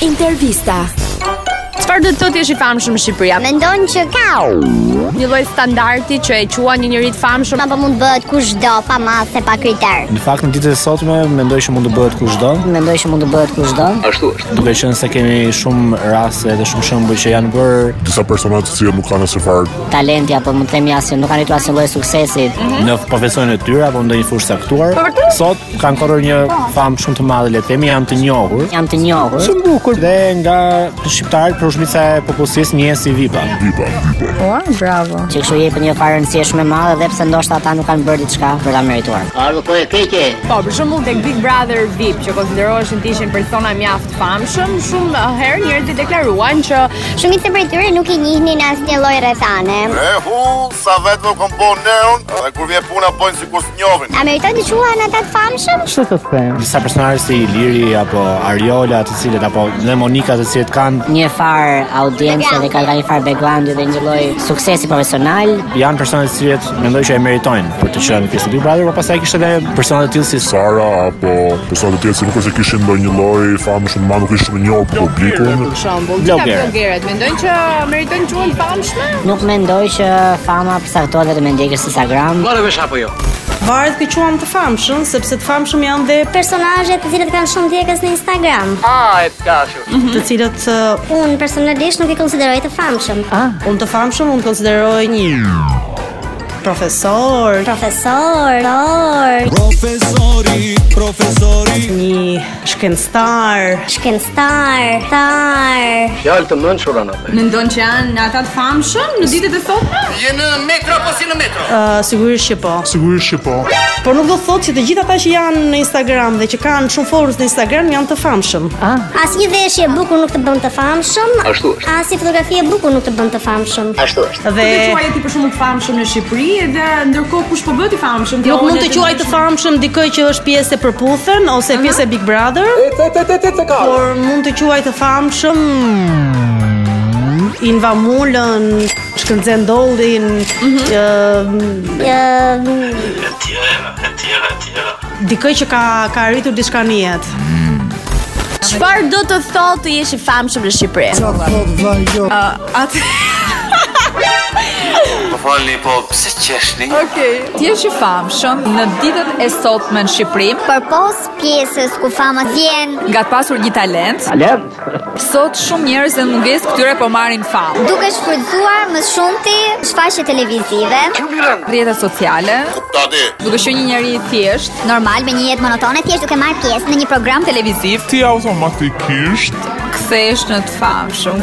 Intervista. Çfarë do të thotë jesh i famshëm në Shqipëri? A Mendon që ka Një lloj standardi që e quan një njerëz të famshëm. Ma po mund bëhet kushdo pa masë pa kriter. Në fakt në ditët e sotme mendoj që mund të bëhet kushdo, Mendoj që mund të bëhet kushdo. duke qenë se kemi shumë raste dhe shumë shembuj që janë bërë disa persona të cilët nuk kanë asnjë farë. Talenti apo mund të themi asnjë nuk kanë arritur asnjë lloj suksesi. në profesionin e tyre apo ndonjë fushë caktuar. Sot kanë korrur një famë shumë të madhe, le të themi, janë të njohur. Jam të njohur. Shumë bukur dhe nga shqiptarët për shumica e popullsisë njësi vipa. Ua, bravo. Që kështu jepën një farë rëndësie shumë e madhe dhe pse ndoshta ata nuk kanë bërë diçka për ta merituar. Po, për shembull tek Big Brother VIP, që konsideroheshin të ishin persona mjaft famshëm, shumë uh, herë njerëzit deklaruan që Shumica prej tyre nuk i njihnin asnjë lloj rrethane. E hu, sa vetë më kom po neon Dhe kur vje puna pojnë si kur së njohin A meriton të quhen ata të famshëm? Disa personazhe si Iliri apo Ariola, të cilët apo dhe Monika, të cilët kanë Një farë audiencë dhe kanë kanë një farë background dhe një lloj suksesi profesional. janë persona të cilët mendoj që e meritojnë për të qenë pjesë e Big Brother, por pastaj kishte edhe persona të tillë si Sara apo persona të tjerë që nuk është se kishin ndonjë lloj fame shumë të madhe, nuk ishin shumë të njohur për publikun. për shembull, Bloggerët. gjitha bloggerët mendojnë që meritojnë të quhen famshme? Nuk mendoj që fama përcaktohet vetëm me ndjekjes në Instagram. Varet që quam të famshëm, sepse të famshëm janë dhe Personazhe të cilët kanë shumë ndjekës në Instagram. të cilët uh, Unë personalisht nuk i konsideroj të famshëm. unë të famshëm unë konsideroj një profesor, Profesor, or, një shkencëtar, shkencëtar, tar. Mendon që janë ata të famshëm në ditët e sotme? Je në metro apo si në metro? uh, sigurisht që po. Sigurisht që po. Por nuk do të thotë që të gjithë ata që janë në Instagram dhe që kanë shumë followers në Instagram janë të famshëm. Asnjë veshje e bukur nuk të bën të famshëm. Ashtu është. Asnjë fotografi e bukur nuk të bën të famshëm. Dhe Ti quaje ti për shembull të famshëm në Shqipëri dhe ndërkohë kush po bëhet i famshëm? Nuk Jo, mund të Ti quaj të famshëm dikoj që është pjesë e përputhen ose pjesë e Big Brother. Por mund të quaj të famshëm Inva Mulën, Shkënzen Dollin, ë, Ë, dikoj që ka ka arritur diçka në jetë. Çfarë do të thotë të jesh i famshëm në Shqipëri? Ë, atë Po falni, po pse qeshni? Okej. Ti je i famshëm në ditët e sotme në Shqipëri. përpos pjesës ku fama vjen nga të pasur një talent. Talent. Sot shumë njerëz në mungesë këtyre po marrin famë. duke shfrytzuar më shumë ti shfaqje televizive, Rrjetet sociale, Tati, duke qenë një njeri i thjeshtë, normal me një jetë monotone thjesht duke marrë pjesë në një program televiziv. Ti automatikisht kthehesh në të famshëm.